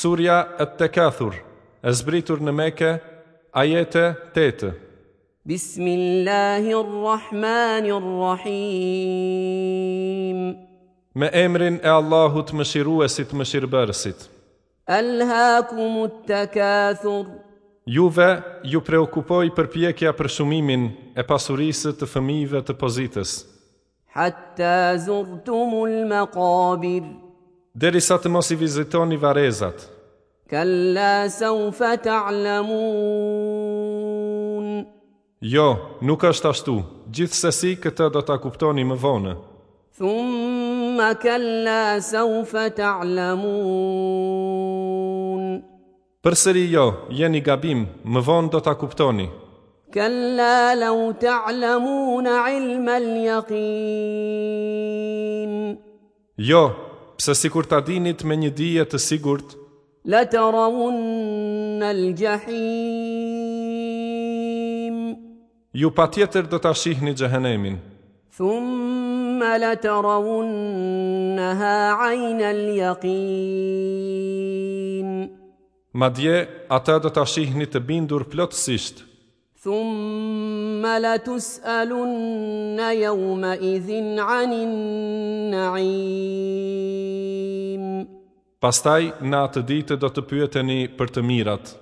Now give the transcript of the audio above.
Surja e të kathur, e zbritur në meke, ajete 8. بسم الله الرحمن الرحيم Me emrin e Allahut më shiruesit më shirëbërësit. ألهاكم التكاثر Juve ju preokupoj përpjekja për shumimin e pasurisë të fëmijëve të pozitës, حتى زرتم المقابر derisa të mos i vizitoni varezat. كلا سوف تعلمون Jo, nuk është ashtu, gjithsesi këtë do ta kuptoni më vonë. ثم كلا سوف تعلمون Përsëri jo, jeni gabim, më vonë do ta kuptoni. كلا لو تعلمون علم اليقين Jo, pse sikur ta dinit me një dije të sigurt, لترون الجحيم ju patjetër do ta shihni xhehenemin. ثم لترونها عين اليقين Madje ata do ta shihni të bindur plotësisht. ثم لتسالن يومئذ عن النعيم Pastaj në atë ditë do të pyeteni për të mirat.